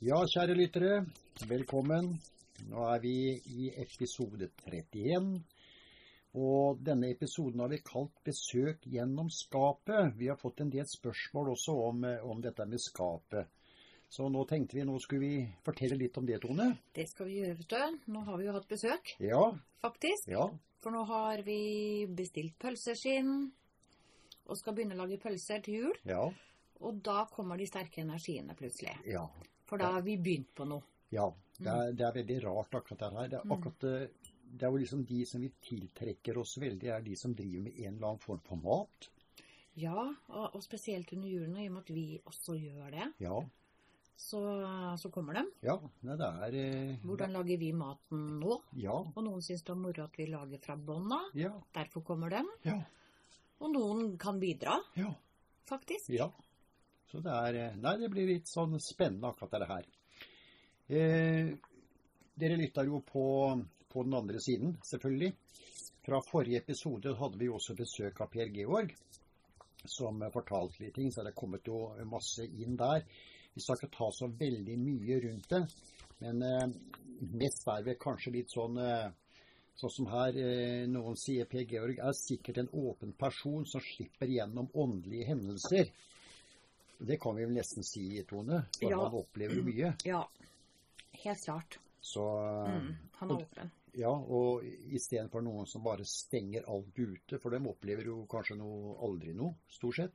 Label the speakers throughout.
Speaker 1: Ja, kjære lyttere, velkommen. Nå er vi i episode 31. Og denne episoden har vi kalt 'Besøk gjennom skapet'. Vi har fått en del spørsmål også om, om dette med skapet. Så nå tenkte vi nå skulle vi fortelle litt om det, Tone.
Speaker 2: Det skal vi gjøre, vet du. Nå har vi jo hatt besøk,
Speaker 1: Ja,
Speaker 2: faktisk.
Speaker 1: ja.
Speaker 2: For nå har vi bestilt pølseskinn og skal begynne å lage pølser til jul.
Speaker 1: Ja.
Speaker 2: Og da kommer de sterke energiene plutselig.
Speaker 1: ja.
Speaker 2: For da har vi begynt på noe.
Speaker 1: Ja, det er, det er veldig rart akkurat det her. Det er,
Speaker 2: Mm.
Speaker 1: akkurat, eh, det er jo liksom de som vi tiltrekker oss veldig, er de som driver med en eller annen form for mat.
Speaker 2: Ja, og, og spesielt under julen, og i og med at vi også gjør det,
Speaker 1: Ja,
Speaker 2: så, så kommer de.
Speaker 1: ja, nei, det er eh,
Speaker 2: Hvordan lager vi maten nå?
Speaker 1: Ja,
Speaker 2: Og noen syns det er moro at vi lager fra bånn av.
Speaker 1: ja,
Speaker 2: Derfor kommer de.
Speaker 1: ja,
Speaker 2: Og noen kan bidra,
Speaker 1: ja,
Speaker 2: faktisk.
Speaker 1: ja. Så det er eh, Nei, det blir litt sånn spennende akkurat det her. Eh, dere lytter jo på, på den andre siden, selvfølgelig. Fra forrige episode hadde vi jo også besøk av Per Georg, som eh, fortalte litt ting, så det er kommet jo masse inn der. Vi skal ikke ta så veldig mye rundt det, men eh, mest er vi kanskje litt sånn eh, Sånn som her, eh, noen sier Per Georg er sikkert en åpen person som slipper gjennom åndelige hendelser. Det kan vi vel nesten si, Tone, for
Speaker 2: Ja.
Speaker 1: han opplever jo mye.
Speaker 2: Ja. Helt klart.
Speaker 1: Så
Speaker 2: Mm, han
Speaker 1: og-
Speaker 2: er åpen.
Speaker 1: ja, og istedenfor noen som bare stenger alt ute, for dem opplever jo kanskje noe, aldri noe, stort sett.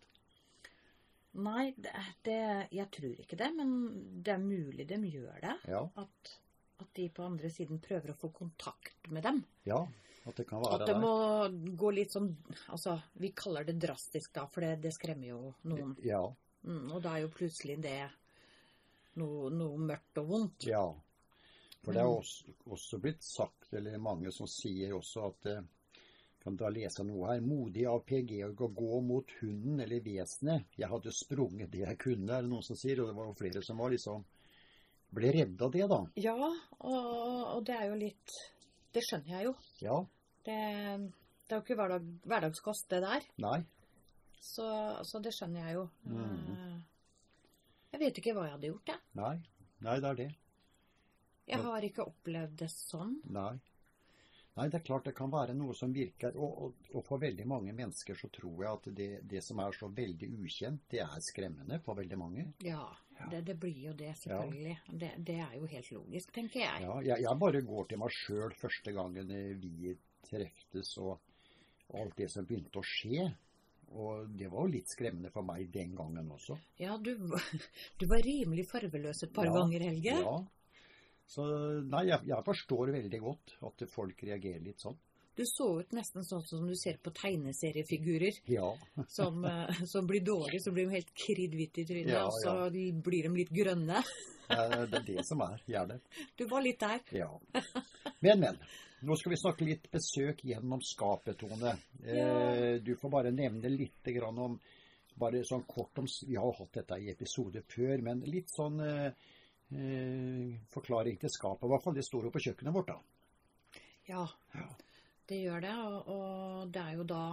Speaker 2: Nei, det, det, jeg tror ikke det, men det er mulig de gjør det.
Speaker 1: Ja,
Speaker 2: At, at de på andre siden prøver å få kontakt med dem.
Speaker 1: ja, at det kan
Speaker 2: At
Speaker 1: være
Speaker 2: det
Speaker 1: der.
Speaker 2: må gå litt sånn Altså, vi kaller det drastisk da, for det, det skremmer jo noen.
Speaker 1: Ja,
Speaker 2: Mm, og da er jo plutselig det noe, noe mørkt og vondt.
Speaker 1: ja. For det er
Speaker 2: Mm.
Speaker 1: også, også blitt sagt, eller mange som sier også at eh, kan da lese noe her. Modig av Per Georg å gå mot hunden eller vesenet. Jeg hadde sprunget det jeg kunne, er det noen som sier. Og det var jo flere som var liksom Ble redde av det, da.
Speaker 2: Ja, og, og det er jo litt Det skjønner jeg jo.
Speaker 1: Ja.
Speaker 2: Det, det er jo ikke hverdag, hverdagskost, det der.
Speaker 1: Nei.
Speaker 2: Så, så det skjønner jeg jo.
Speaker 1: Mhm.
Speaker 2: Eh, Jeg vet ikke hva jeg hadde gjort, jeg.
Speaker 1: Nei. Nei, det er det.
Speaker 2: Jeg
Speaker 1: Ja.
Speaker 2: har ikke opplevd det sånn.
Speaker 1: Nei. Nei, det er klart det kan være noe som virker. Og, og, og for veldig mange mennesker så tror jeg at det, det som er så veldig ukjent, det er skremmende for veldig mange.
Speaker 2: Ja,
Speaker 1: Ja.
Speaker 2: det, det blir jo det, selvfølgelig. Det, det er jo helt logisk, tenker jeg.
Speaker 1: Ja, jeg, jeg bare går til meg sjøl første gangen eh, vi treftes og og alt det som begynte å skje. Og det var jo litt skremmende for meg den gangen også.
Speaker 2: Ja, du, du var rimelig farveløs et par
Speaker 1: Ja.
Speaker 2: ganger, Helge.
Speaker 1: Ja. Så nei, jeg, jeg forstår veldig godt at folk reagerer litt sånn.
Speaker 2: Du så ut nesten sånn som du ser på tegneseriefigurer
Speaker 1: Ja.
Speaker 2: som, eh, som blir dårlige, så blir de helt kridhvite i trynet,
Speaker 1: Ja,
Speaker 2: og så blir de litt grønne.
Speaker 1: eh, Det er det som er. Gjerne.
Speaker 2: Du var litt der.
Speaker 1: Ja. Men, men. Nå skal vi snakke litt besøk gjennom skapet, Tone. Eh, Du får bare nevne litt grann om bare sånn kort om, Vi har jo hatt dette i episoder før, men litt sånn eh, eh, forklaring til skapet. I hvert fall det står jo på kjøkkenet vårt, da.
Speaker 2: Ja,
Speaker 1: Ja.
Speaker 2: det gjør det. Og, og det er jo da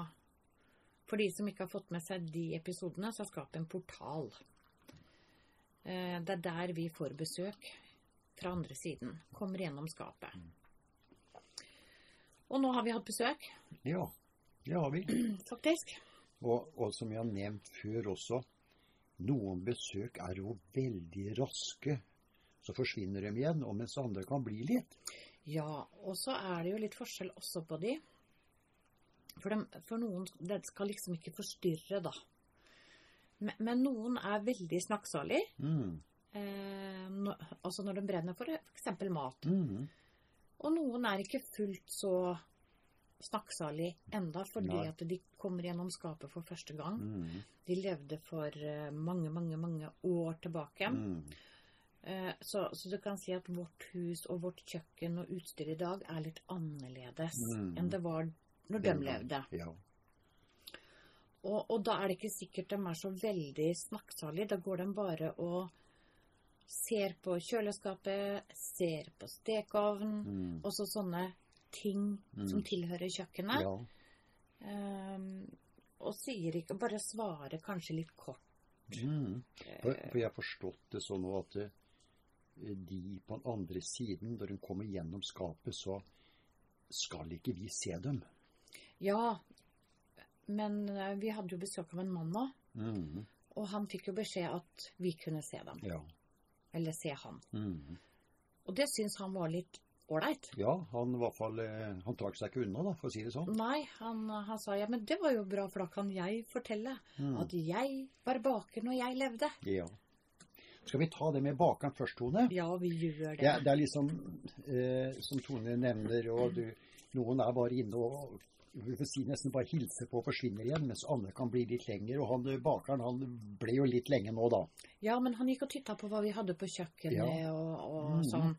Speaker 2: For de som ikke har fått med seg de episodene, så er Skap en portal. Eh, Det er der vi får besøk fra andre siden. Kommer gjennom skapet. Og nå har vi hatt besøk,
Speaker 1: Ja, det har vi.
Speaker 2: faktisk.
Speaker 1: Og, og som jeg har nevnt før også, noen besøk er jo veldig raske. Så forsvinner de igjen, og mens andre kan bli litt.
Speaker 2: Ja, og så er det jo litt forskjell også på de. For, dem, for noen Det skal liksom ikke forstyrre, da. Men, men noen er veldig snakksalige.
Speaker 1: Mm.
Speaker 2: Eh, nå- altså når de brenner for f.eks. mat.
Speaker 1: Mm.
Speaker 2: Og noen er ikke fullt så snakksalig enda, fordi
Speaker 1: Nei.
Speaker 2: at de kommer gjennom skapet for første gang.
Speaker 1: Mm.
Speaker 2: De levde for eh, mange, mange, mange år tilbake.
Speaker 1: Mm.
Speaker 2: Eh, så, så du kan si at vårt hus og vårt kjøkken og utstyr i dag er litt annerledes
Speaker 1: Mm.
Speaker 2: enn det var når de
Speaker 1: Den gang.
Speaker 2: levde.
Speaker 1: Ja.
Speaker 2: Og, og da er det ikke sikkert de er så veldig snakksalige. Da går de bare og ser på kjøleskapet, ser på stekeovnen,
Speaker 1: Mm.
Speaker 2: også sånne ting som
Speaker 1: Mm.
Speaker 2: tilhører kjøkkenet.
Speaker 1: Ja.
Speaker 2: Ehm, og sier ikke Bare svarer kanskje litt kort.
Speaker 1: Mm. For, for jeg har forstått det sånn nå at eh, eh, de på den andre siden, når hun kommer gjennom skapet, så skal ikke vi se dem.
Speaker 2: Ja, men eh, vi hadde jo besøk av en mann nå,
Speaker 1: Mhm,
Speaker 2: og han fikk jo beskjed at vi kunne se dem.
Speaker 1: Ja.
Speaker 2: Eller se han.
Speaker 1: mhm.
Speaker 2: Og det syns han var litt ålreit.
Speaker 1: ja, han i hvert fall eh, Han trakk seg ikke unna, da, for å si det sånn.
Speaker 2: Nei, han, han sa ja, men det var jo bra, for da kan jeg fortelle
Speaker 1: Mhm,
Speaker 2: at jeg var baker når jeg levde.
Speaker 1: Ja. Skal vi ta det med bakeren først, Tone?
Speaker 2: Ja, vi gjør
Speaker 1: Det,
Speaker 2: det.
Speaker 1: er- det er liksom eh, Som Tone nevner, og du, noen er bare inne og vi får si nesten bare hilser på og forsvinner igjen, mens andre kan bli litt lenger. Og han eh, bakeren han ble jo litt lenge nå, da.
Speaker 2: Ja, men han gikk og titta på hva vi hadde på kjøkkenet og, og
Speaker 1: Mhm.
Speaker 2: sånn.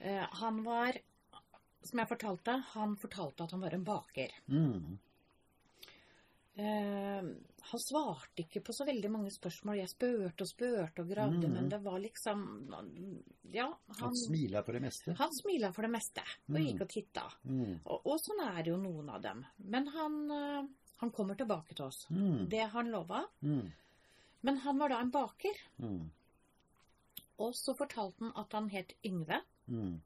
Speaker 2: Eh, han var, som jeg fortalte, han fortalte at han var en baker.
Speaker 1: Mm.
Speaker 2: Eh, han svarte ikke på så veldig mange spørsmål. Jeg spurte og spurte og gravde,
Speaker 1: Mhm.
Speaker 2: men det var liksom Ja,
Speaker 1: Han
Speaker 2: han,
Speaker 1: smiler for det meste.
Speaker 2: han smila for det meste og
Speaker 1: Mhm.
Speaker 2: gikk og titta.
Speaker 1: Mm.
Speaker 2: Og, og sånn er det jo noen av dem. Men han, eh, han kommer tilbake til oss.
Speaker 1: Mm.
Speaker 2: Det han lova.
Speaker 1: Mm.
Speaker 2: Men han var da en baker,
Speaker 1: Mm.
Speaker 2: og så fortalte han at han het Yngve.
Speaker 1: Mm.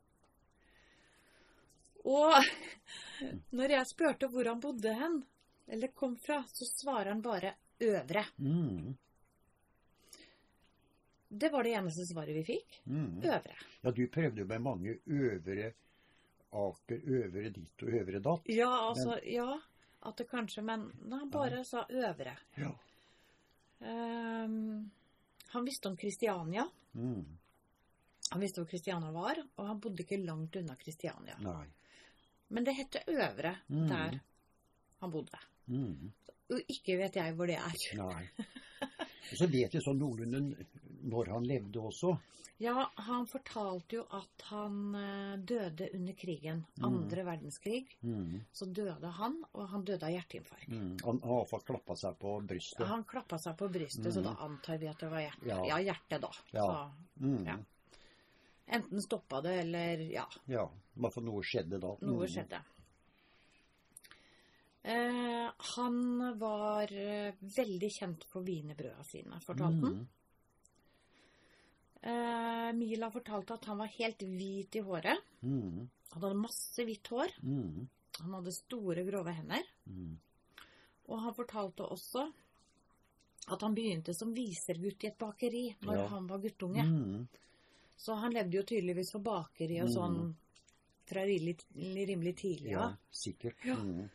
Speaker 2: Og når jeg spurte hvor han bodde hen, eller kom fra, så svarer han bare Øvre.
Speaker 1: Mm.
Speaker 2: Det var det eneste svaret vi fikk.
Speaker 1: Mm.
Speaker 2: Øvre.
Speaker 1: Ja, du prøvde jo med mange øvre Aker, øvre ditt og øvre datt.
Speaker 2: Ja, altså, ja. At det kanskje Men nei, han bare sa Øvre.
Speaker 1: Ja.
Speaker 2: Ehm, han visste om Kristiania.
Speaker 1: Mm.
Speaker 2: Han visste hvor Kristiania var, og han bodde ikke langt unna Kristiania.
Speaker 1: Nei.
Speaker 2: Men det het Øvre
Speaker 1: Mm.
Speaker 2: der han bodde.
Speaker 1: Mm.
Speaker 2: Og ikke vet jeg hvor det er.
Speaker 1: Nei. Og så vet vi sånn noenlunde når han levde også.
Speaker 2: Ja, han fortalte jo at han eh, døde under krigen.
Speaker 1: Mm.
Speaker 2: Andre verdenskrig.
Speaker 1: Mm.
Speaker 2: Så døde han, og han døde av hjerteinfarkt.
Speaker 1: Mm. Han har iallfall klappa seg på brystet.
Speaker 2: Han klappa seg på brystet, så
Speaker 1: Mm.
Speaker 2: da antar vi at det var hjertet. Ja,
Speaker 1: Ja.
Speaker 2: hjertet, da.
Speaker 1: Ja.
Speaker 2: Så
Speaker 1: Mm.
Speaker 2: ja. enten stoppa det, eller ja,
Speaker 1: ja. I hvert fall noe skjedde da. Mm.
Speaker 2: noe skjedde. Eh, han var eh, veldig kjent for wienerbrøda sine, fortalte han.
Speaker 1: Mm.
Speaker 2: Eh, Mila fortalte at han var helt hvit i håret.
Speaker 1: Mm.
Speaker 2: Han hadde masse hvitt hår.
Speaker 1: Mm.
Speaker 2: Han hadde store, grove hender.
Speaker 1: Mm.
Speaker 2: Og han fortalte også at han begynte som visergutt i et bakeri når
Speaker 1: Ja.
Speaker 2: han var guttunge.
Speaker 1: Mm.
Speaker 2: Så han levde jo tydeligvis for bakeri og
Speaker 1: Mm.
Speaker 2: sånn fra rimelig, rimelig tidlig
Speaker 1: Ja,
Speaker 2: av.
Speaker 1: sikkert.
Speaker 2: Ja.
Speaker 1: Mm.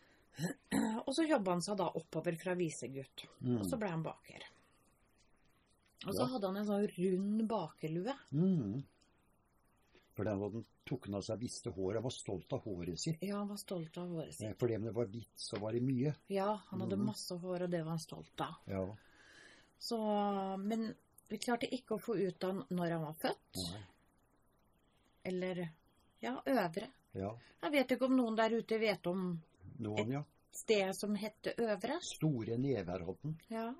Speaker 2: Og så jobba han seg da oppover fra visergutt. Og så
Speaker 1: Mm.
Speaker 2: ble han baker. Og så
Speaker 1: Ja.
Speaker 2: hadde han en sånn rund bakerlue.
Speaker 1: Mm. For den hadde han tok han av seg visste håret. Han var stolt av håret sitt.
Speaker 2: Ja, han var stolt av håret sitt.
Speaker 1: Eh, For det om det var hvitt, så var det mye.
Speaker 2: Ja, han hadde
Speaker 1: Mm.
Speaker 2: masse hår, og det var han stolt av.
Speaker 1: Ja.
Speaker 2: Så, men vi klarte ikke å få ut han når han var født.
Speaker 1: Nei.
Speaker 2: Eller ja, øvre.
Speaker 1: Ja.
Speaker 2: Jeg vet ikke om noen der ute vet om
Speaker 1: Noen, ja.
Speaker 2: stedet som hette Øvre.
Speaker 1: Store never hadde han.
Speaker 2: Ja,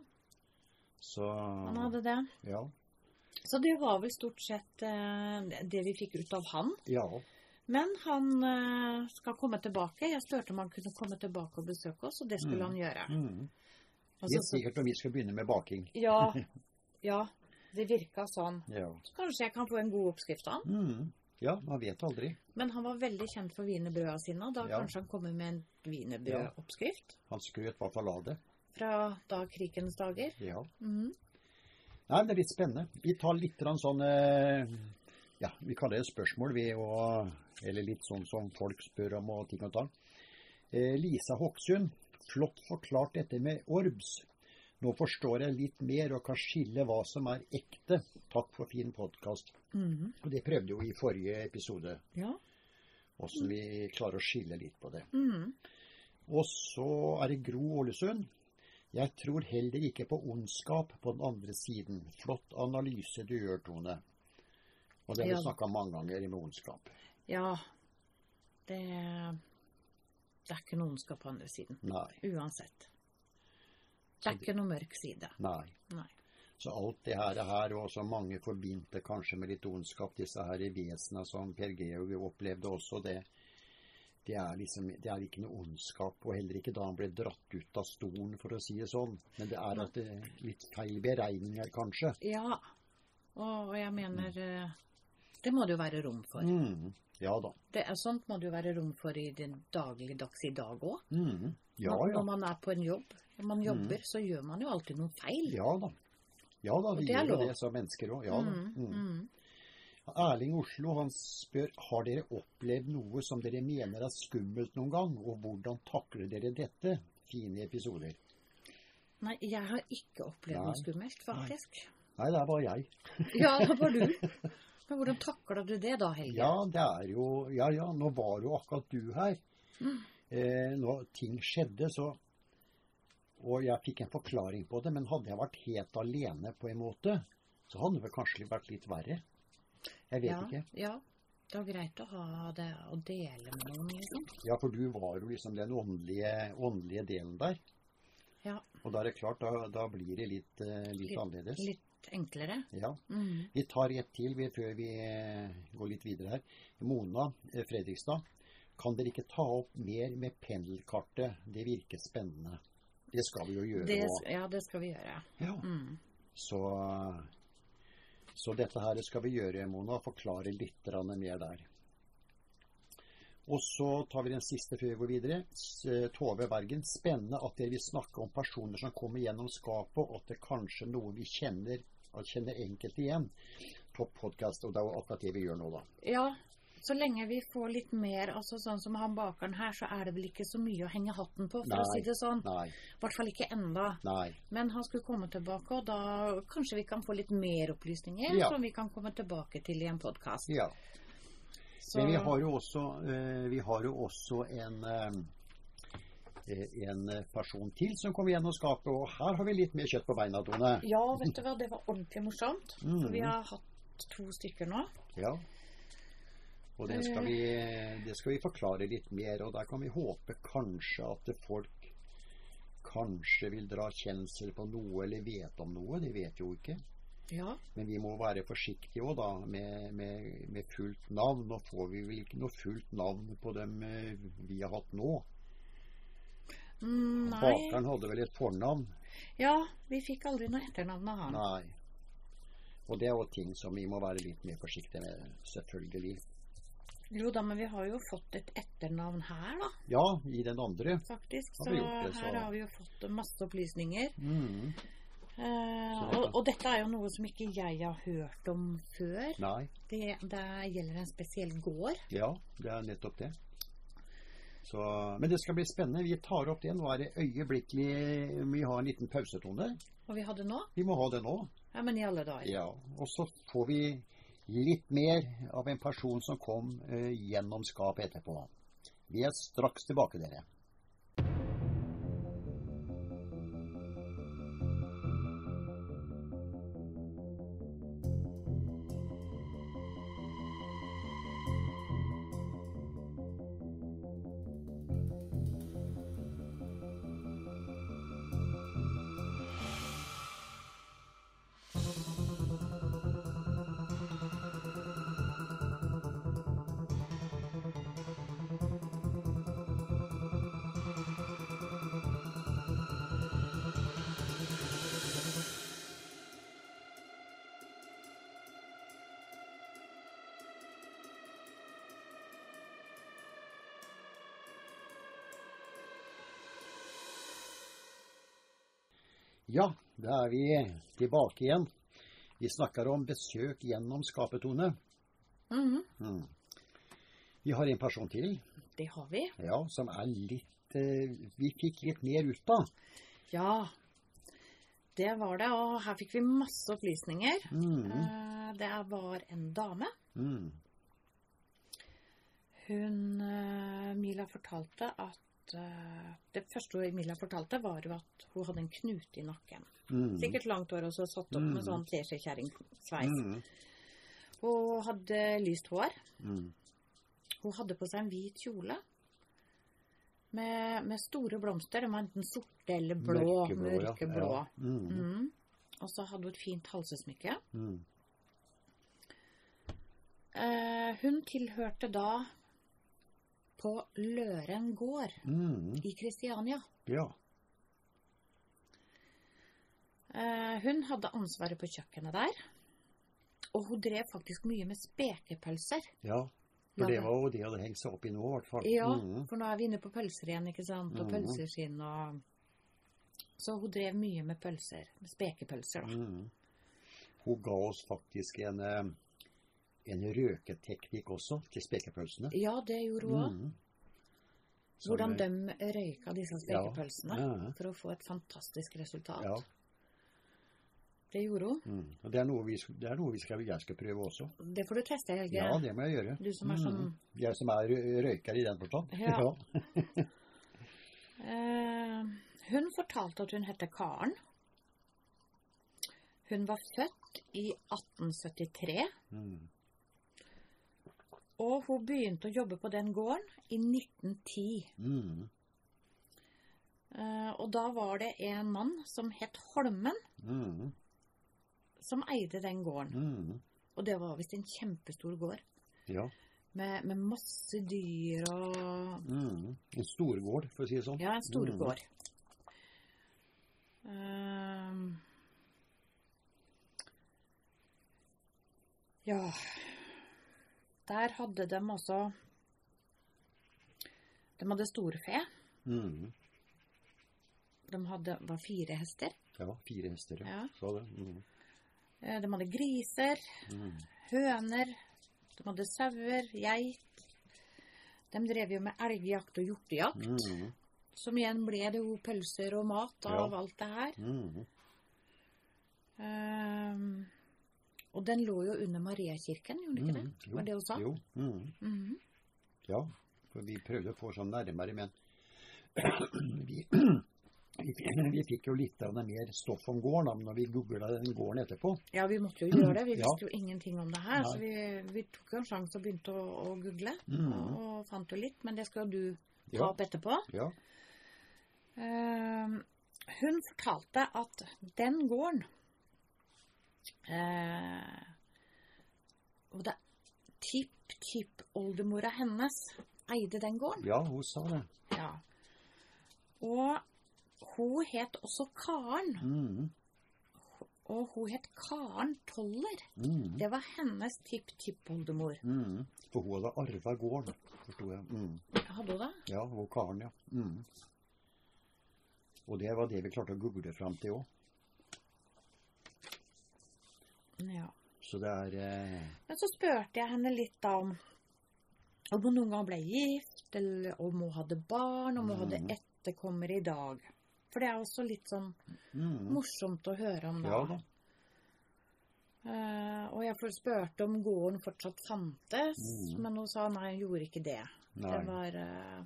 Speaker 1: Så
Speaker 2: han hadde det.
Speaker 1: Ja.
Speaker 2: Så det var vel stort sett eh, det vi fikk ut av han.
Speaker 1: ja.
Speaker 2: Men han eh, skal komme tilbake. Jeg spurte om han kunne komme tilbake og besøke oss, og det skulle
Speaker 1: Mm.
Speaker 2: han gjøre.
Speaker 1: Mm.
Speaker 2: Og
Speaker 1: Vet
Speaker 2: så-
Speaker 1: sikkert når vi skal begynne med baking.
Speaker 2: ja, ja, det virka sånn.
Speaker 1: Ja.
Speaker 2: Så kanskje jeg kan få en god oppskrift av han.
Speaker 1: Mm. Ja, man vet aldri.
Speaker 2: Men han var veldig kjent for wienerbrøda sine, og da
Speaker 1: Ja.
Speaker 2: kanskje han kommer med en wienerbrødoppskrift
Speaker 1: Han skrøt i hvert fall av det.
Speaker 2: fra da krigens dager.
Speaker 1: Ja.
Speaker 2: Mhm.
Speaker 1: Nei, det er litt spennende. Vi tar litt grann sånn eh, Ja, vi kaller det spørsmål, vi. Og, eller litt sånn som folk spør om og ting og tang. Eh, Lisa Hokksund. Flott forklart dette med orbs. Nå forstår jeg litt mer og kan skille hva som er ekte. Takk for fin podkast.
Speaker 2: Mhm.
Speaker 1: Og det prøvde jo i forrige episode,
Speaker 2: Ja.
Speaker 1: åssen vi klarer å skille litt på det.
Speaker 2: Mhm.
Speaker 1: Og så er det Gro Ålesund. Jeg tror heller ikke på ondskap på den andre siden. Flott analyse du gjør, Tone. Og det har vi
Speaker 2: Ja.
Speaker 1: snakka om mange ganger med ondskap.
Speaker 2: Ja. Det, det er ikke noe ondskap på andre siden.
Speaker 1: Nei.
Speaker 2: Uansett. Det er ikke noe mørk side.
Speaker 1: Nei.
Speaker 2: Nei.
Speaker 1: Så alt det her, er her og så mange forbindte kanskje med litt ondskap, disse her vesena som Per Georg opplevde også, det, det, er liksom, det er ikke noe ondskap. Og heller ikke da han ble dratt ut av stolen, for å si det sånn. Men det er at det er litt feil beregninger, kanskje.
Speaker 2: Ja. Og, og jeg mener eh, Det må det jo være rom for.
Speaker 1: Mm. Ja da.
Speaker 2: Det er, sånt må det jo være rom for i den dagligdags i dag òg.
Speaker 1: Mm. Ja,
Speaker 2: Når- Når
Speaker 1: ja.
Speaker 2: man er på en jobb, når man jobber, så gjør man jo alltid noen feil.
Speaker 1: Ja da. Ja da,
Speaker 2: Og
Speaker 1: vi
Speaker 2: det er
Speaker 1: gjør jo
Speaker 2: lov.
Speaker 1: det som mennesker òg. Ja, da.
Speaker 2: Mm,
Speaker 1: mm.
Speaker 2: mm.
Speaker 1: Erling Oslo han spør har dere opplevd noe som dere mener er skummelt noen gang, og hvordan takler dere dette? Fine episoder.
Speaker 2: Nei, jeg har ikke opplevd
Speaker 1: Nei.
Speaker 2: noe skummelt, faktisk.
Speaker 1: Nei, det er bare jeg.
Speaker 2: Ja, det var du. Men hvordan takla du det da, Helge?
Speaker 1: Ja, det er jo Ja, ja, nå var jo akkurat du her.
Speaker 2: Mm.
Speaker 1: Eh, når ting skjedde, så Og jeg fikk en forklaring på det, men hadde jeg vært helt alene på en måte, så hadde det vel kanskje vært litt verre. Jeg vet
Speaker 2: ja,
Speaker 1: ikke.
Speaker 2: Ja. Det er greit å ha det å dele med noen, liksom.
Speaker 1: Ja, for du var jo liksom den åndelige, åndelige delen der.
Speaker 2: Ja,
Speaker 1: Og da er det klart, da, da blir det litt, eh, litt
Speaker 2: Litt-
Speaker 1: annerledes.
Speaker 2: litt enklere.
Speaker 1: Ja.
Speaker 2: Mm.
Speaker 1: Vi tar ett til vi, før vi eh, går litt videre her. Mona eh, Fredrikstad. Kan dere ikke ta opp mer med pendelkartet? Det virker spennende. Det skal vi jo gjøre.
Speaker 2: Det,
Speaker 1: også.
Speaker 2: ja, det skal vi gjøre.
Speaker 1: ja.
Speaker 2: Mm.
Speaker 1: så, så dette her skal vi gjøre, Mona. Forklare litt grann mer der. Og så tar vi den siste før vi går videre. S- eh, Tove Bergen. Spennende at dere vil snakke om personer som kommer gjennom skapet, og at det kanskje er noen vi kjenner, kjenner enkelt igjen. Topp podkast. Og det er jo akkurat det vi gjør nå, da.
Speaker 2: Ja, så lenge vi får litt mer, altså sånn som han bakeren her, så er det vel ikke så mye å henge hatten på, for å
Speaker 1: Nei.
Speaker 2: si det sånn.
Speaker 1: Nei.
Speaker 2: I hvert fall ikke enda.
Speaker 1: Nei.
Speaker 2: Men han skulle komme tilbake, og da kanskje vi kan få litt mer opplysninger
Speaker 1: Ja.
Speaker 2: som vi kan komme tilbake til i en podkast.
Speaker 1: Ja. Men vi har jo også, eh, vi har jo også en, eh, en person til som kommer gjennom skapet, og her har vi litt mer kjøtt på beina, Tone.
Speaker 2: Ja, vet du hva, det var ordentlig morsomt.
Speaker 1: Mm.
Speaker 2: For vi har hatt to stykker nå.
Speaker 1: Ja. Og det skal, vi, det skal vi forklare litt mer, og der kan vi håpe kanskje at folk kanskje vil dra kjensel på noe eller vet om noe. De vet jo ikke.
Speaker 2: Ja.
Speaker 1: Men vi må være forsiktige òg, da, med, med, med fullt navn. Nå får vi vel ikke noe fullt navn på dem eh, vi har hatt nå.
Speaker 2: Mm, nei.
Speaker 1: Bakeren hadde vel et fornavn?
Speaker 2: Ja, vi fikk aldri noe etternavn av han.
Speaker 1: Nei. Og det er jo ting som vi må være litt mer forsiktige med, selvfølgelig.
Speaker 2: Jo da, men vi har jo fått et etternavn her, da,
Speaker 1: Ja, i den andre.
Speaker 2: faktisk.
Speaker 1: Har
Speaker 2: Så
Speaker 1: vi gjort det, så-
Speaker 2: her har vi jo fått masse opplysninger.
Speaker 1: Mm.
Speaker 2: Eh,
Speaker 1: Så-
Speaker 2: og, og dette er jo noe som ikke jeg har hørt om før.
Speaker 1: Nei.
Speaker 2: Det, det gjelder en spesiell gård.
Speaker 1: Ja, det er nettopp det. Så, men det skal bli spennende. Vi tar opp det. Nå er det øyeblikkelig Vi har en liten pausetone.
Speaker 2: Og vi hadde nå?
Speaker 1: Vi må ha det nå.
Speaker 2: Ja, men i alle dager.
Speaker 1: Ja. Og så får vi litt mer av en person som kom eh, gjennom skapet etterpå. Vi er straks tilbake, dere. Ja, da er vi tilbake igjen. Vi snakker om besøk gjennom skapetone.
Speaker 2: Mhm,
Speaker 1: Mm. Vi har en person til,
Speaker 2: det har vi.
Speaker 1: ja, som er litt eh, Vi fikk litt mer ut av.
Speaker 2: Ja, det var det. Og her fikk vi masse opplysninger.
Speaker 1: Mm.
Speaker 2: Eh, Det var en dame.
Speaker 1: Mm.
Speaker 2: Hun eh, Mila fortalte at eh, Det første hun Mila fortalte, var jo at hun hadde en knute i nakken.
Speaker 1: Mm.
Speaker 2: Sikkert langt hår og så satt opp med
Speaker 1: Mm.
Speaker 2: sånn teskjekjerringsveis.
Speaker 1: Mm.
Speaker 2: Hun hadde lyst hår.
Speaker 1: Mm.
Speaker 2: Hun hadde på seg en hvit kjole. Med, med store blomster. De var enten sorte eller blå. Mørkeblå.
Speaker 1: ja. Ja. Mm.
Speaker 2: Mm. Og så hadde hun et fint halsesmykke.
Speaker 1: Mm.
Speaker 2: Eh, hun tilhørte da på Løren gård
Speaker 1: Mm.
Speaker 2: i Kristiania.
Speaker 1: Ja.
Speaker 2: Eh, hun hadde ansvaret på kjøkkenet der. Og hun drev faktisk mye med spekepølser.
Speaker 1: Ja, for det
Speaker 2: Laget-
Speaker 1: var jo det jeg hadde hengt seg opp i nå, i hvert fall.
Speaker 2: Ja,
Speaker 1: Mhm.
Speaker 2: for nå er vi inne på pølser igjen, ikke sant? Og
Speaker 1: Mhm.
Speaker 2: pølseskinn og Så hun drev mye med pølser. Med spekepølser, da.
Speaker 1: Mhm. Hun ga oss faktisk en, eh, en røketeknikk også, til spekepølsene.
Speaker 2: Ja, det gjorde hun òg.
Speaker 1: Mhm. Så
Speaker 2: Hvordan
Speaker 1: det-
Speaker 2: de røyka disse spekepølsene
Speaker 1: Ja, ja.
Speaker 2: for å få et fantastisk resultat.
Speaker 1: Ja.
Speaker 2: Det gjorde hun.
Speaker 1: Mhm. Og Det er noe, vi, sk- det er noe vi skal, jeg skal prøve også.
Speaker 2: Det får du teste, Helge.
Speaker 1: Ja, det må jeg gjøre.
Speaker 2: Du som er sånn
Speaker 1: Mhm. Jeg som er rø- røyker i den forstand.
Speaker 2: Ja. eh, Hun fortalte at hun heter Karen. Hun var født i 1873,
Speaker 1: Mhm.
Speaker 2: og hun begynte å jobbe på den gården i 1910.
Speaker 1: Mhm.
Speaker 2: Eh, og da var det en mann som het Holmen,
Speaker 1: Mhm.
Speaker 2: som eide den gården.
Speaker 1: Mhm.
Speaker 2: Og det var visst en kjempestor gård,
Speaker 1: Ja.
Speaker 2: med, med masse dyr og
Speaker 1: Mhm. En storgård, for å si det sånn.
Speaker 2: Ja, en stor
Speaker 1: Mm.
Speaker 2: gård. Ehm. ja Der hadde de også De hadde storfe.
Speaker 1: Mhm.
Speaker 2: De hadde, var fire hester.
Speaker 1: Ja, fire hester, ja.
Speaker 2: Ja.
Speaker 1: Sa det. Mhm.
Speaker 2: Eh, De hadde griser.
Speaker 1: Mhm.
Speaker 2: høner, de hadde sauer, geit. De drev jo med elgjakt og hjortejakt,
Speaker 1: Mhm.
Speaker 2: som igjen ble det jo pølser og mat av
Speaker 1: Ja.
Speaker 2: alt det her.
Speaker 1: Mhm.
Speaker 2: Ehm, og den lå jo under Mariakirken, gjorde den ikke det?
Speaker 1: Mhm. Jo.
Speaker 2: Var det hun sa?
Speaker 1: Jo. Mhm.
Speaker 2: Mhm.
Speaker 1: Ja, for vi prøvde å få sånn nærmere, men vi, vi, vi fikk jo litt grann mer stoff om gården da, når vi googla den gården etterpå.
Speaker 2: Ja, vi måtte jo gjøre det. Vi
Speaker 1: Mm. Ja.
Speaker 2: visste jo ingenting om det her,
Speaker 1: Nei.
Speaker 2: så vi, vi tok jo en sjanse og begynte å, å google.
Speaker 1: Mhm.
Speaker 2: Og fant jo litt, men det skal jo du ta
Speaker 1: Ja.
Speaker 2: opp etterpå.
Speaker 1: Ja.
Speaker 2: Eh, hun fortalte at den gården eh, Og det tipp-tipp-oldemora hennes eide den gården.
Speaker 1: ja, hun sa det.
Speaker 2: Ja. Og hun het også Karen.
Speaker 1: Mhm.
Speaker 2: Og hun het Karen Toller.
Speaker 1: Mhm.
Speaker 2: Det var hennes tipp-tipp-oldemor.
Speaker 1: Mhm. For hun hadde arva gården, forsto jeg. Mhm.
Speaker 2: Hadde hun det?
Speaker 1: Ja, hun karen, ja. Mhm. Og det var det vi klarte å google fram til òg.
Speaker 2: Ja.
Speaker 1: Så det er eh,
Speaker 2: Men så spurte jeg henne litt da om om hun noen gang ble gift, eller om hun hadde barn, om hun hadde
Speaker 1: Mhm.
Speaker 2: etterkommere i dag. For det er også litt sånn
Speaker 1: mhm.
Speaker 2: morsomt å høre om, da.
Speaker 1: Ja da.
Speaker 2: Eh, og jeg spurte om gården fortsatt fantes,
Speaker 1: Mhm.
Speaker 2: men hun sa nei, hun gjorde ikke det.
Speaker 1: Nei.
Speaker 2: Det var eh,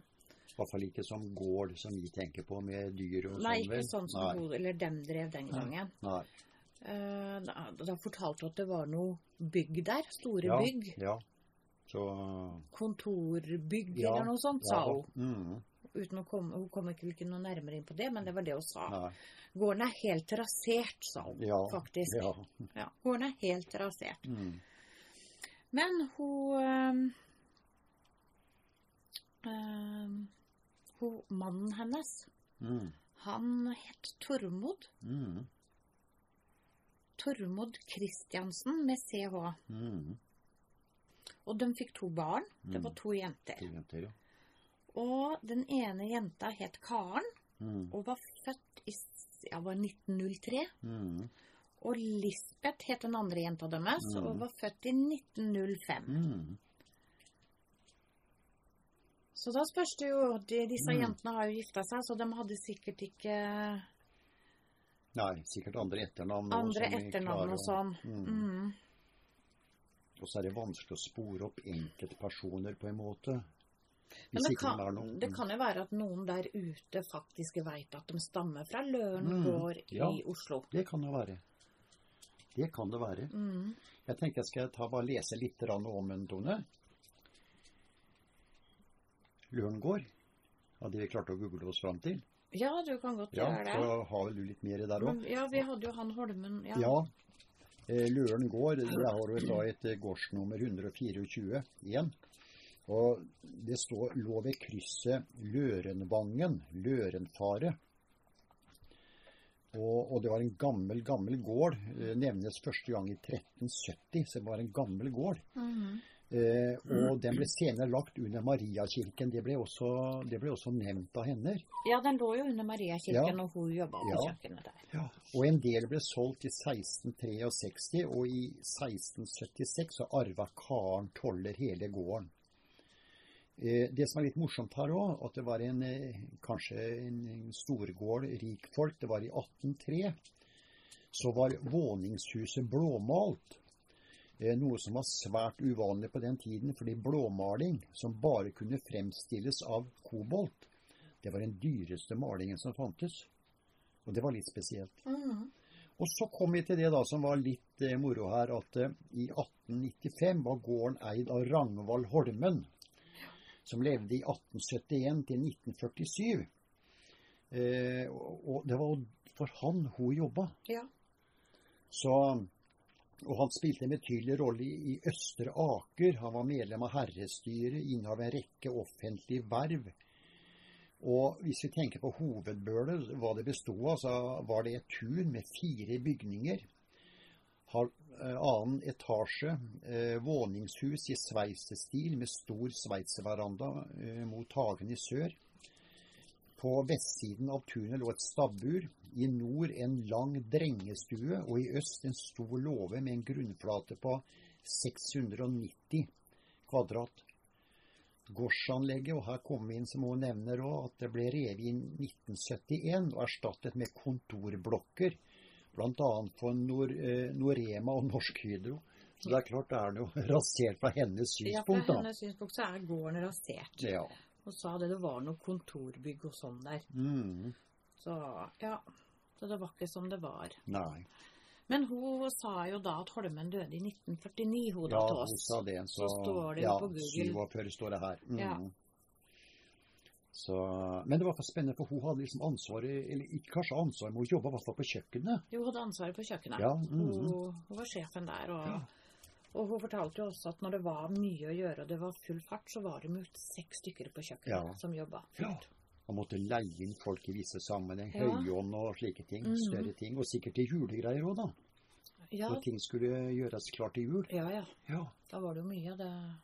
Speaker 1: I hvert fall ikke som gård som vi tenker på, med dyr og sånn.
Speaker 2: Nei, ikke
Speaker 1: vel?
Speaker 2: sånn som
Speaker 1: Nei.
Speaker 2: hun, eller dem drev den
Speaker 1: Nei.
Speaker 2: gangen.
Speaker 1: Nei.
Speaker 2: Eh, da, da fortalte hun at det var noe bygg der. Store
Speaker 1: Ja.
Speaker 2: bygg.
Speaker 1: Ja. Så
Speaker 2: Kontorbygg
Speaker 1: Ja,
Speaker 2: eller noe sånt, sa
Speaker 1: ja,
Speaker 2: hun.
Speaker 1: mhm.
Speaker 2: Uten å komme, hun kom ikke, ikke noe nærmere inn på det, men det var det hun sa.
Speaker 1: Nei.
Speaker 2: Gården er helt rasert, sa hun
Speaker 1: Ja,
Speaker 2: faktisk.
Speaker 1: Ja.
Speaker 2: Ja, gården er helt rasert.
Speaker 1: Mm.
Speaker 2: Men hun ehm, øhm, øhm, ehm, hun, Mannen hennes,
Speaker 1: Mm.
Speaker 2: han het Tormod.
Speaker 1: Mm.
Speaker 2: Tormod Kristiansen med CH.
Speaker 1: Mm.
Speaker 2: Og de fikk to barn. Det var
Speaker 1: Mm.
Speaker 2: to jenter.
Speaker 1: To jenter, ja.
Speaker 2: Og den ene jenta het Karen
Speaker 1: Mm.
Speaker 2: og var født i s- ja, var 1903.
Speaker 1: Mm.
Speaker 2: Og Lisbeth het den andre jenta deres
Speaker 1: Mhm.
Speaker 2: og var født i 1905.
Speaker 1: Mm.
Speaker 2: Så da spørs det jo de, Disse
Speaker 1: Mm.
Speaker 2: jentene har jo gifta seg, så de hadde sikkert ikke
Speaker 1: Nei, sikkert andre etternavn. nå
Speaker 2: andre
Speaker 1: som vi klarer
Speaker 2: etternavn og
Speaker 1: å-
Speaker 2: sånn.
Speaker 1: Mm.
Speaker 2: Mm.
Speaker 1: Og så er det vanskelig å spore opp enkeltpersoner, på en måte.
Speaker 2: Men
Speaker 1: Hvis
Speaker 2: det
Speaker 1: ikke
Speaker 2: kan,
Speaker 1: de er noe.
Speaker 2: det kan jo være at noen der ute faktisk veit at de stammer fra Løren
Speaker 1: Mm.
Speaker 2: gård
Speaker 1: Ja.
Speaker 2: i Oslo.
Speaker 1: Mm. det kan det være. Det kan det være.
Speaker 2: Mm.
Speaker 1: Jeg tenker jeg skal ta, bare lese litt grann om en Tone. Løngård. Av det vi klarte å google oss fram til.
Speaker 2: Ja, du kan godt
Speaker 1: Ja,
Speaker 2: gjøre det.
Speaker 1: så har vel du litt mer der òg.
Speaker 2: Men, Mm, ja, vi hadde jo han Holmen ja.
Speaker 1: Ja. Eh, Løren gård, der har du da et eh, gårdsnummer 124 igjen. Og det står, lå ved krysset Lørenvangen, Lørenfare. Og, og det var en gammel, gammel gård. eh, Nevnes første gang i 1370, så det var en gammel gård.
Speaker 2: Mhm.
Speaker 1: Eh, og den ble senere lagt under Mariakirken. Det ble også, det ble også nevnt av henne.
Speaker 2: Ja, den lå jo under Mariakirken,
Speaker 1: Ja.
Speaker 2: og hun jobba på
Speaker 1: Ja.
Speaker 2: kjøkkenet der.
Speaker 1: Og en del ble solgt i 1663, og i 1676 så arva Karen Toller hele gården. Eh, Det som er litt morsomt her òg, at det var en, eh, kanskje en en storgård, rikfolk. Det var i 1803. Så var våningshuset blåmalt. Eh, Noe som var svært uvanlig på den tiden, fordi blåmaling, som bare kunne fremstilles av kobolt, det var den dyreste malingen som fantes. Og det var litt spesielt.
Speaker 2: Mhm.
Speaker 1: Og så kom vi til det da som var litt eh, moro her, at eh, i 1895 var gården eid av Rangvald Holmen, som levde i 1871 til 1947. Eh, og, og det var jo for han hun jobba.
Speaker 2: Ja.
Speaker 1: Så, og han spilte en betydelig rolle i, i Østre Aker. Han var medlem av herrestyret, innehav en rekke offentlige verv. Og hvis vi tenker på hovedbølet, hva det bestod av, så var det et tun med fire bygninger. Hal, eh, annen etasje, eh, våningshus i sveisestil med stor sveitserveranda eh, mot hagen i sør. På vestsiden av tunet lå et stabbur, i nord en lang drengestue, og i øst en stor låve med en grunnflate på 690 kvadrat. Gårdsanlegget, og her kommer vi inn som hun nevner òg, at det ble revet inn 1971 og erstattet med kontorblokker, bl.a. for Nor eh, Norema og Norsk Hydro. Så det er klart det er noe rasert fra hennes
Speaker 2: ja, fra
Speaker 1: synspunkt, da.
Speaker 2: hennes synspunkt så er gården rasert.
Speaker 1: Ja.
Speaker 2: Hun sa det det var noe kontorbygg og sånn der.
Speaker 1: Mm.
Speaker 2: Så ja, så det var ikke som det var.
Speaker 1: Nei.
Speaker 2: Men hun sa jo da at Holmen døde i 1949, hun da
Speaker 1: Ja,
Speaker 2: til
Speaker 1: hun
Speaker 2: oss.
Speaker 1: sa det. Så,
Speaker 2: Så står det jo
Speaker 1: ja,
Speaker 2: på Google.
Speaker 1: 47 står det her. Mm.
Speaker 2: Ja.
Speaker 1: Så, men det var for spennende, for hun hadde liksom ansvaret Eller ikke kanskje ansvaret, men hun jobba i hvert fall på kjøkkenet.
Speaker 2: Jo, hun hadde ansvaret for kjøkkenet.
Speaker 1: Ja, mhm.
Speaker 2: hun, hun var sjefen der. Og,
Speaker 1: Ja.
Speaker 2: og hun fortalte jo også at når det var mye å gjøre og det var full fart, så var det jo seks stykker på kjøkkenet
Speaker 1: Ja.
Speaker 2: som jobba.
Speaker 1: Ja. Og måtte leie inn folk i visse sammenheng.
Speaker 2: Ja.
Speaker 1: Høyånd og slike ting.
Speaker 2: Mhm.
Speaker 1: Større ting. Og sikkert til julegreier òg, da.
Speaker 2: Ja,
Speaker 1: Når ting skulle gjøres klart til jul.
Speaker 2: ja, ja.
Speaker 1: Ja.
Speaker 2: Da var det jo mye av det.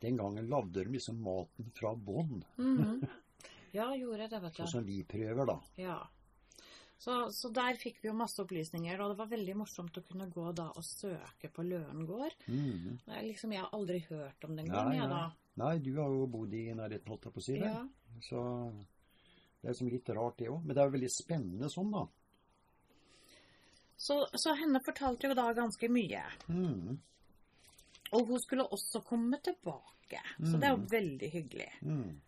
Speaker 1: Den gangen lagde de liksom maten fra bånn,
Speaker 2: Mhm. Ja, gjorde det, vet du.
Speaker 1: sånn som vi prøver, da.
Speaker 2: Ja. Så, så der fikk vi jo masse opplysninger, og det var veldig morsomt å kunne gå da og søke på Løren gård.
Speaker 1: Mhm.
Speaker 2: Det er Liksom, jeg har aldri hørt om den
Speaker 1: Nei,
Speaker 2: gangen, jeg
Speaker 1: nei.
Speaker 2: da.
Speaker 1: Nei, du har jo bodd i nærheten, holdt jeg på å si. vel?
Speaker 2: Ja.
Speaker 1: Så det er liksom litt rart, det òg. Men det er jo veldig spennende sånn, da.
Speaker 2: Så, så henne fortalte jo da ganske mye.
Speaker 1: Mm,
Speaker 2: Og hun skulle også komme tilbake, så det er jo veldig hyggelig.
Speaker 1: mm.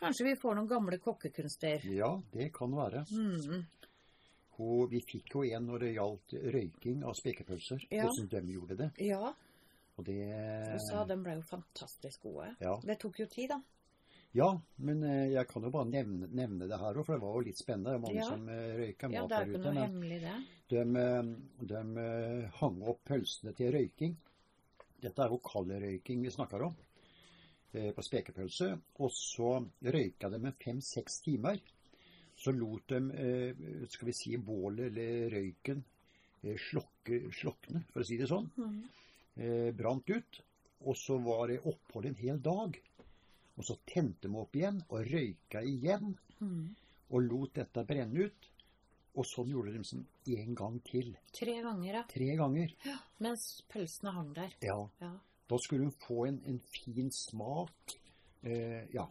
Speaker 2: Kanskje vi får noen gamle kokkekunster.
Speaker 1: Ja, det kan være.
Speaker 2: Mm.
Speaker 1: Hun, vi fikk jo en når det gjaldt røyking av spekepølser.
Speaker 2: Ja.
Speaker 1: Hvordan de gjorde det.
Speaker 2: Ja,
Speaker 1: Og det
Speaker 2: hun
Speaker 1: Eh.
Speaker 2: sa de ble jo fantastisk gode.
Speaker 1: ja.
Speaker 2: Det tok jo tid, da.
Speaker 1: ja, men eh, jeg kan jo bare nevne, nevne det her òg, for det var jo litt spennende. Det er mange
Speaker 2: Ja.
Speaker 1: som eh, røyker
Speaker 2: Ja,
Speaker 1: mat
Speaker 2: det
Speaker 1: der
Speaker 2: er jo ikke
Speaker 1: ute.
Speaker 2: noe
Speaker 1: Men
Speaker 2: hemmelig, det.
Speaker 1: de, eh, de eh, hang opp pølsene til røyking. Dette er jo kaldrøyking vi snakker om. eh, På spekepølse. Og så røyka de med fem-seks timer. Så lot de, eh, skal vi si, bålet eller røyken eh, slokke, slokne, for å si det sånn.
Speaker 2: Mm.
Speaker 1: Eh, brant ut. Og så var det opphold en hel dag. Og så tente de opp igjen og røyka igjen
Speaker 2: Mm.
Speaker 1: og lot dette brenne ut. Og sånn gjorde de som en gang til.
Speaker 2: Tre ganger, ja.
Speaker 1: Tre ganger.
Speaker 2: Mens pølsene hang der.
Speaker 1: Ja.
Speaker 2: Ja.
Speaker 1: Da skulle hun få en, en fin smak. Eh, ja.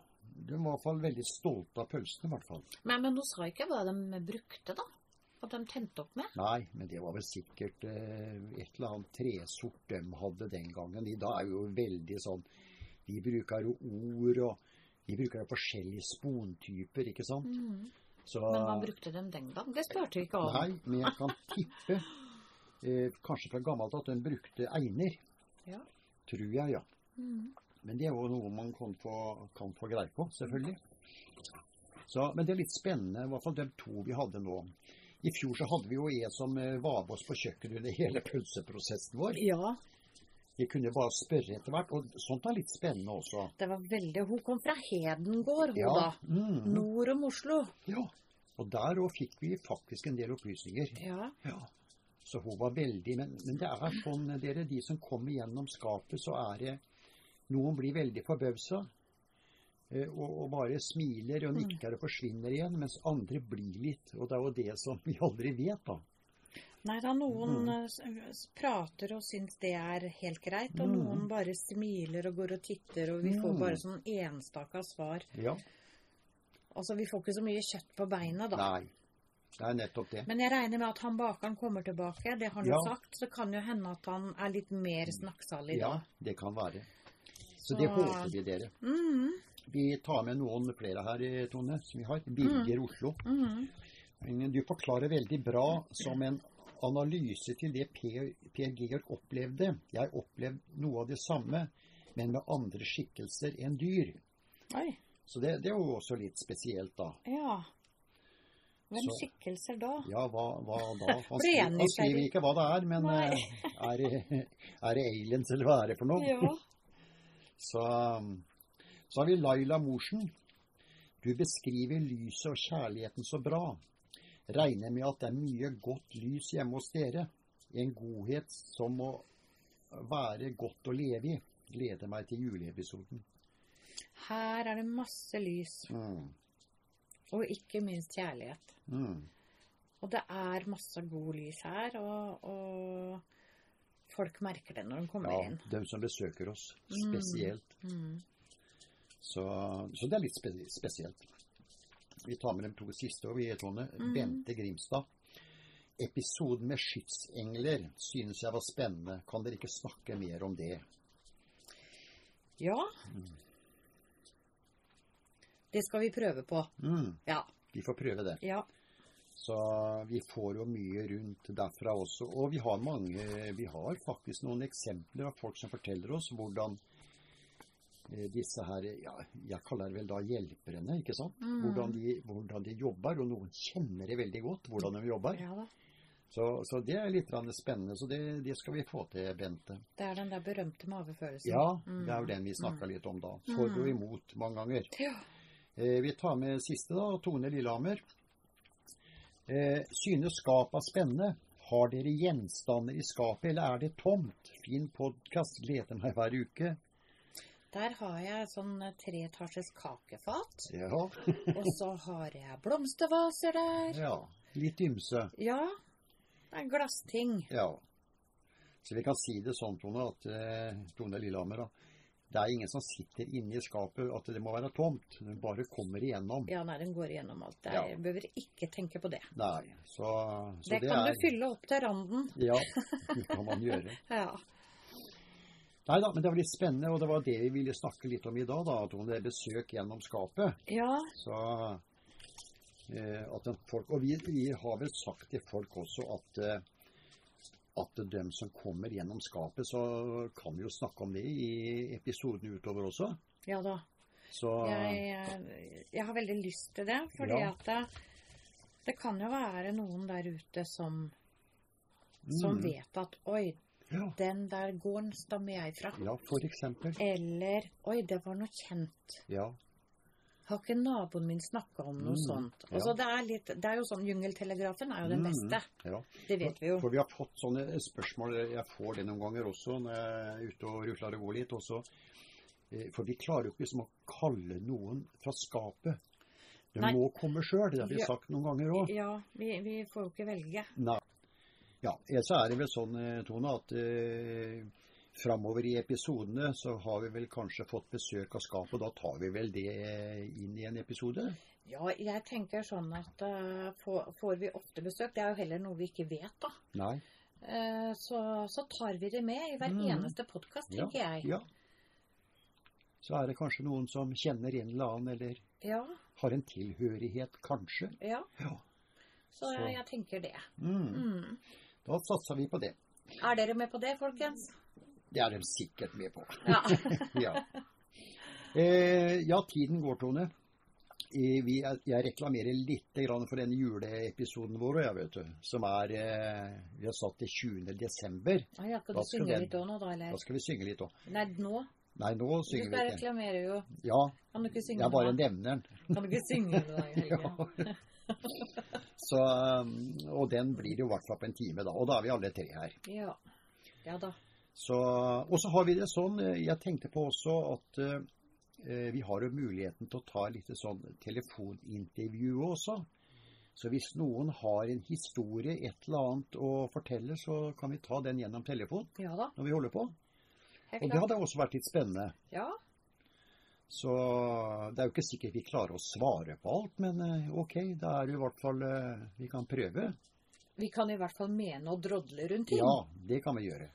Speaker 1: De var i hvert fall veldig stolte av pølsene, i hvert fall.
Speaker 2: Men, men hun sa ikke hva de brukte, da. At de tente opp med.
Speaker 1: Nei, men det var vel sikkert eh, et eller annet tresort de hadde den gangen. De da er jo veldig sånn De bruker jo ord og De bruker jo forskjellige spontyper, ikke sant? Så,
Speaker 2: Men hva brukte de den gang? Det spurte vi ikke om.
Speaker 1: Mm. Nei, men jeg kan tippe, eh, kanskje fra gammelt, at den brukte einer.
Speaker 2: Ja.
Speaker 1: Tror jeg, ja.
Speaker 2: Mhm.
Speaker 1: Men det er jo noe man kan få, kan få greie på, selvfølgelig. Så, men det er litt spennende, i hvert fall de to vi hadde nå. I fjor så hadde vi jo en som eh, var med oss på kjøkkenet under hele pølseprosessen vår.
Speaker 2: Ja,
Speaker 1: Vi kunne bare spørre etter hvert, og sånt er litt spennende også.
Speaker 2: det var veldig Hun kom fra Hedengård, hun
Speaker 1: Ja.
Speaker 2: da.
Speaker 1: Mm,
Speaker 2: Nord om Oslo.
Speaker 1: ja. Og der òg fikk vi faktisk en del opplysninger.
Speaker 2: Ja.
Speaker 1: Ja. Så hun var veldig Men, men det er sånn, dere, de som kommer gjennom skapet, så er det Noen blir veldig forbausa eh, og, og bare smiler og nikker og forsvinner igjen, mens andre blir litt Og det er jo det som vi aldri vet, da.
Speaker 2: Nei da, noen
Speaker 1: Mm.
Speaker 2: eh, s- s- prater og syns det er helt greit, og
Speaker 1: Mm.
Speaker 2: noen bare smiler og går og titter, og vi får
Speaker 1: Mm.
Speaker 2: bare sånn enstaka svar.
Speaker 1: Ja.
Speaker 2: Altså, vi får ikke så mye kjøtt på beina, da.
Speaker 1: Nei. Det er nettopp det.
Speaker 2: Men jeg regner med at han bakeren kommer tilbake, det har han jo
Speaker 1: Ja. Mm.
Speaker 2: sagt. Så kan jo hende at han er litt mer snakksalig
Speaker 1: Ja,
Speaker 2: da.
Speaker 1: det kan være. Så det
Speaker 2: Så-
Speaker 1: håper vi, dere.
Speaker 2: Mm,
Speaker 1: Vi tar med noen flere her, eh, Tone, som vi har. Birger Oslo.
Speaker 2: mm.
Speaker 1: Men Du forklarer veldig bra som en analyse til det Per, per Georg opplevde. Jeg opplevde noe av det samme, men med andre skikkelser enn dyr.
Speaker 2: Oi.
Speaker 1: Så det, det er jo også litt spesielt, da.
Speaker 2: Ja. Hvem
Speaker 1: Så-
Speaker 2: skikkelser da?
Speaker 1: Ja, hva, hva da? Han
Speaker 2: Ble
Speaker 1: skriver,
Speaker 2: enig,
Speaker 1: han skriver ikke hva det er, men
Speaker 2: Nei.
Speaker 1: eh, er, det- er det aliens, eller hva er det for noe?
Speaker 2: Ja.
Speaker 1: Så, um, så har vi Laila Morsen. Du beskriver lyset og kjærligheten så bra. Regner med at det er mye godt lys hjemme hos dere. En godhet som må være godt å leve i. Gleder meg til juleepisoden.
Speaker 2: Her er det masse lys,
Speaker 1: Mm.
Speaker 2: og ikke minst kjærlighet.
Speaker 1: Mm.
Speaker 2: Og det er masse god lys her, og, og folk merker det når de kommer
Speaker 1: Ja,
Speaker 2: inn.
Speaker 1: de som besøker oss
Speaker 2: Mm.
Speaker 1: spesielt.
Speaker 2: Mm.
Speaker 1: Så, så det er litt spe spesielt. Vi tar med de to siste, og vi er Tone.
Speaker 2: Mhm.
Speaker 1: Bente Grimstad. Episoden med skytsengler synes jeg var spennende. Kan dere ikke snakke mer om det?
Speaker 2: Ja.
Speaker 1: Mm.
Speaker 2: Det skal vi prøve på.
Speaker 1: Mm,
Speaker 2: Ja.
Speaker 1: vi får prøve det.
Speaker 2: Ja.
Speaker 1: Så vi får jo mye rundt derfra også. Og vi har mange Vi har faktisk noen eksempler av folk som forteller oss hvordan eh, disse her ja, Jeg kaller det vel da hjelperne, ikke sant?
Speaker 2: Mm.
Speaker 1: Hvordan, de, hvordan de jobber. Og noen kjenner det veldig godt, hvordan de jobber.
Speaker 2: ja da.
Speaker 1: Så, så det er litt grann spennende. Så det, det skal vi få til, Bente.
Speaker 2: Det er den der berømte magefølelsen.
Speaker 1: Ja,
Speaker 2: Mm.
Speaker 1: det er jo den vi snakka litt om da. For og imot mange ganger.
Speaker 2: Ja.
Speaker 1: Eh, vi tar med siste, da. Tone Lillehammer. Eh, synes skapet er spennende. Har dere gjenstander i skapet, eller er det tomt? Fin podkast. Gleder meg hver uke.
Speaker 2: Der har jeg sånn eh, treetasjes kakefat.
Speaker 1: Ja.
Speaker 2: Og så har jeg blomstervaser der.
Speaker 1: ja. Litt ymse.
Speaker 2: Ja. Det er glassting.
Speaker 1: Ja. Så vi kan si det sånn, Tone, at eh, Tone Lillehammer, da. Det er ingen som sitter inne i skapet at det må være tomt. Den bare kommer igjennom.
Speaker 2: Ja, nei, den går igjennom alt. Der
Speaker 1: Ja.
Speaker 2: behøver ikke tenke på det.
Speaker 1: Nei, så, så
Speaker 2: det, kan
Speaker 1: er,
Speaker 2: du fylle opp til randen.
Speaker 1: Ja, det kan man gjøre.
Speaker 2: Ja.
Speaker 1: Nei da, men det var litt spennende, og det var det vi ville snakke litt om i dag. da, At det er besøk gjennom skapet.
Speaker 2: ja.
Speaker 1: Så eh, at en folk, Og vi, vi har vel sagt til folk også at eh, at de som kommer gjennom skapet, så kan vi jo snakke om det i episoden utover også.
Speaker 2: Ja da.
Speaker 1: Så
Speaker 2: Jeg, eh, jeg har veldig lyst til det, fordi
Speaker 1: Ja.
Speaker 2: at det, det kan jo være noen der ute som, som
Speaker 1: mm,
Speaker 2: vet at Oi,
Speaker 1: ja,
Speaker 2: den der gården stammer jeg fra.
Speaker 1: ja, for eksempel.
Speaker 2: Eller Oi, det var noe kjent.
Speaker 1: Ja.
Speaker 2: Har ikke naboen min snakka om noe
Speaker 1: Mm,
Speaker 2: sånt?
Speaker 1: ja.
Speaker 2: Altså, det, er litt, det er jo sånn Jungeltelegrafen er jo den
Speaker 1: Mm,
Speaker 2: beste.
Speaker 1: ja.
Speaker 2: Det vet vi jo.
Speaker 1: For vi har fått sånne spørsmål, jeg får det noen ganger også når jeg er ute og rusler og går litt også. Eh, For vi klarer jo ikke liksom å kalle noen fra skapet. De
Speaker 2: Nei.
Speaker 1: må komme sjøl, det har vi
Speaker 2: Ja.
Speaker 1: sagt noen ganger òg.
Speaker 2: Ja, vi, vi får jo ikke velge.
Speaker 1: Ja, ellers så er det vel sånn, eh, Tone, at eh, framover i episodene så har vi vel kanskje fått besøk av skapet, og da tar vi vel det eh, inn i en episode?
Speaker 2: Ja, jeg tenker sånn at eh, får, får vi ofte besøk Det er jo heller noe vi ikke vet, da.
Speaker 1: Nei.
Speaker 2: Eh, så, så tar vi det med i hver
Speaker 1: Mm.
Speaker 2: eneste podkast, tenker jeg.
Speaker 1: Ja. Så er det kanskje noen som kjenner en eller annen, eller
Speaker 2: Ja,
Speaker 1: har en tilhørighet, kanskje.
Speaker 2: ja.
Speaker 1: Ja.
Speaker 2: Så
Speaker 1: Så.
Speaker 2: jeg, jeg tenker det.
Speaker 1: Mm.
Speaker 2: Mm.
Speaker 1: Da satser vi på det.
Speaker 2: Er dere med på det, folkens?
Speaker 1: Det er de sikkert med på.
Speaker 2: Ja.
Speaker 1: ja. Eh, ja, tiden går, Tone. Eh, vi er, jeg reklamerer litt grann for denne juleepisoden vår, jeg vet du, som er eh, Vi har satt til 20. desember.
Speaker 2: Å, ja, skal
Speaker 1: Da
Speaker 2: du
Speaker 1: skal
Speaker 2: synge
Speaker 1: den-
Speaker 2: litt òg nå, da?
Speaker 1: Da
Speaker 2: Eller?
Speaker 1: skal vi synge litt òg.
Speaker 2: Nei, nå?
Speaker 1: Nei, nå
Speaker 2: Du
Speaker 1: synger vi
Speaker 2: skal
Speaker 1: ikke.
Speaker 2: reklamere jo.
Speaker 1: Ja,
Speaker 2: Kan du ikke synge
Speaker 1: jeg bare
Speaker 2: noe?
Speaker 1: nevner den.
Speaker 2: Kan du ikke synge i dag, Helge?
Speaker 1: Så, um, og den blir det jo i hvert fall på en time, da. Og da er vi alle tre her.
Speaker 2: Ja. ja da.
Speaker 1: Så, og så har vi det sånn, eh, jeg tenkte på også at eh, vi har jo muligheten til å ta litt sånn telefonintervju også. Så hvis noen har en historie, et eller annet å fortelle, så kan vi ta den gjennom telefon
Speaker 2: Ja da.
Speaker 1: når vi holder på.
Speaker 2: Helt
Speaker 1: Og det
Speaker 2: klart.
Speaker 1: hadde også vært litt spennende.
Speaker 2: Ja.
Speaker 1: Så det er jo ikke sikkert vi klarer å svare på alt, men eh, ok, da er det i hvert fall eh, Vi kan prøve.
Speaker 2: Vi kan i hvert fall mene og drodle rundt ting.
Speaker 1: Ja, det kan vi gjøre.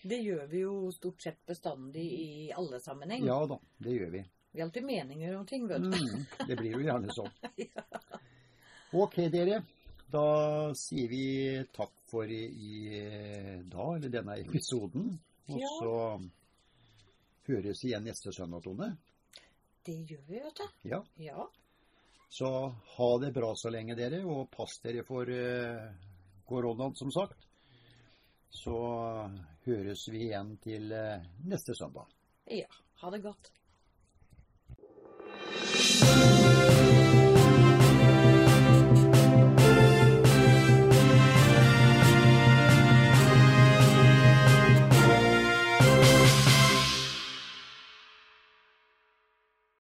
Speaker 2: Det gjør vi jo stort sett bestandig i alle sammenheng.
Speaker 1: Ja da, det gjør vi.
Speaker 2: Vi har alltid meninger om ting, vet du.
Speaker 1: Mm, det blir jo gjerne sånn. Ok, dere. Da sier vi takk for i, i dag, eller denne episoden. Og
Speaker 2: Ja.
Speaker 1: så høres igjen neste søndag, Tone.
Speaker 2: Det gjør vi, vet du.
Speaker 1: Ja.
Speaker 2: Ja.
Speaker 1: Så ha det bra så lenge, dere. Og pass dere for eh, koronaen, som sagt. Så høres vi igjen til eh, neste søndag.
Speaker 2: ja. Ha det godt.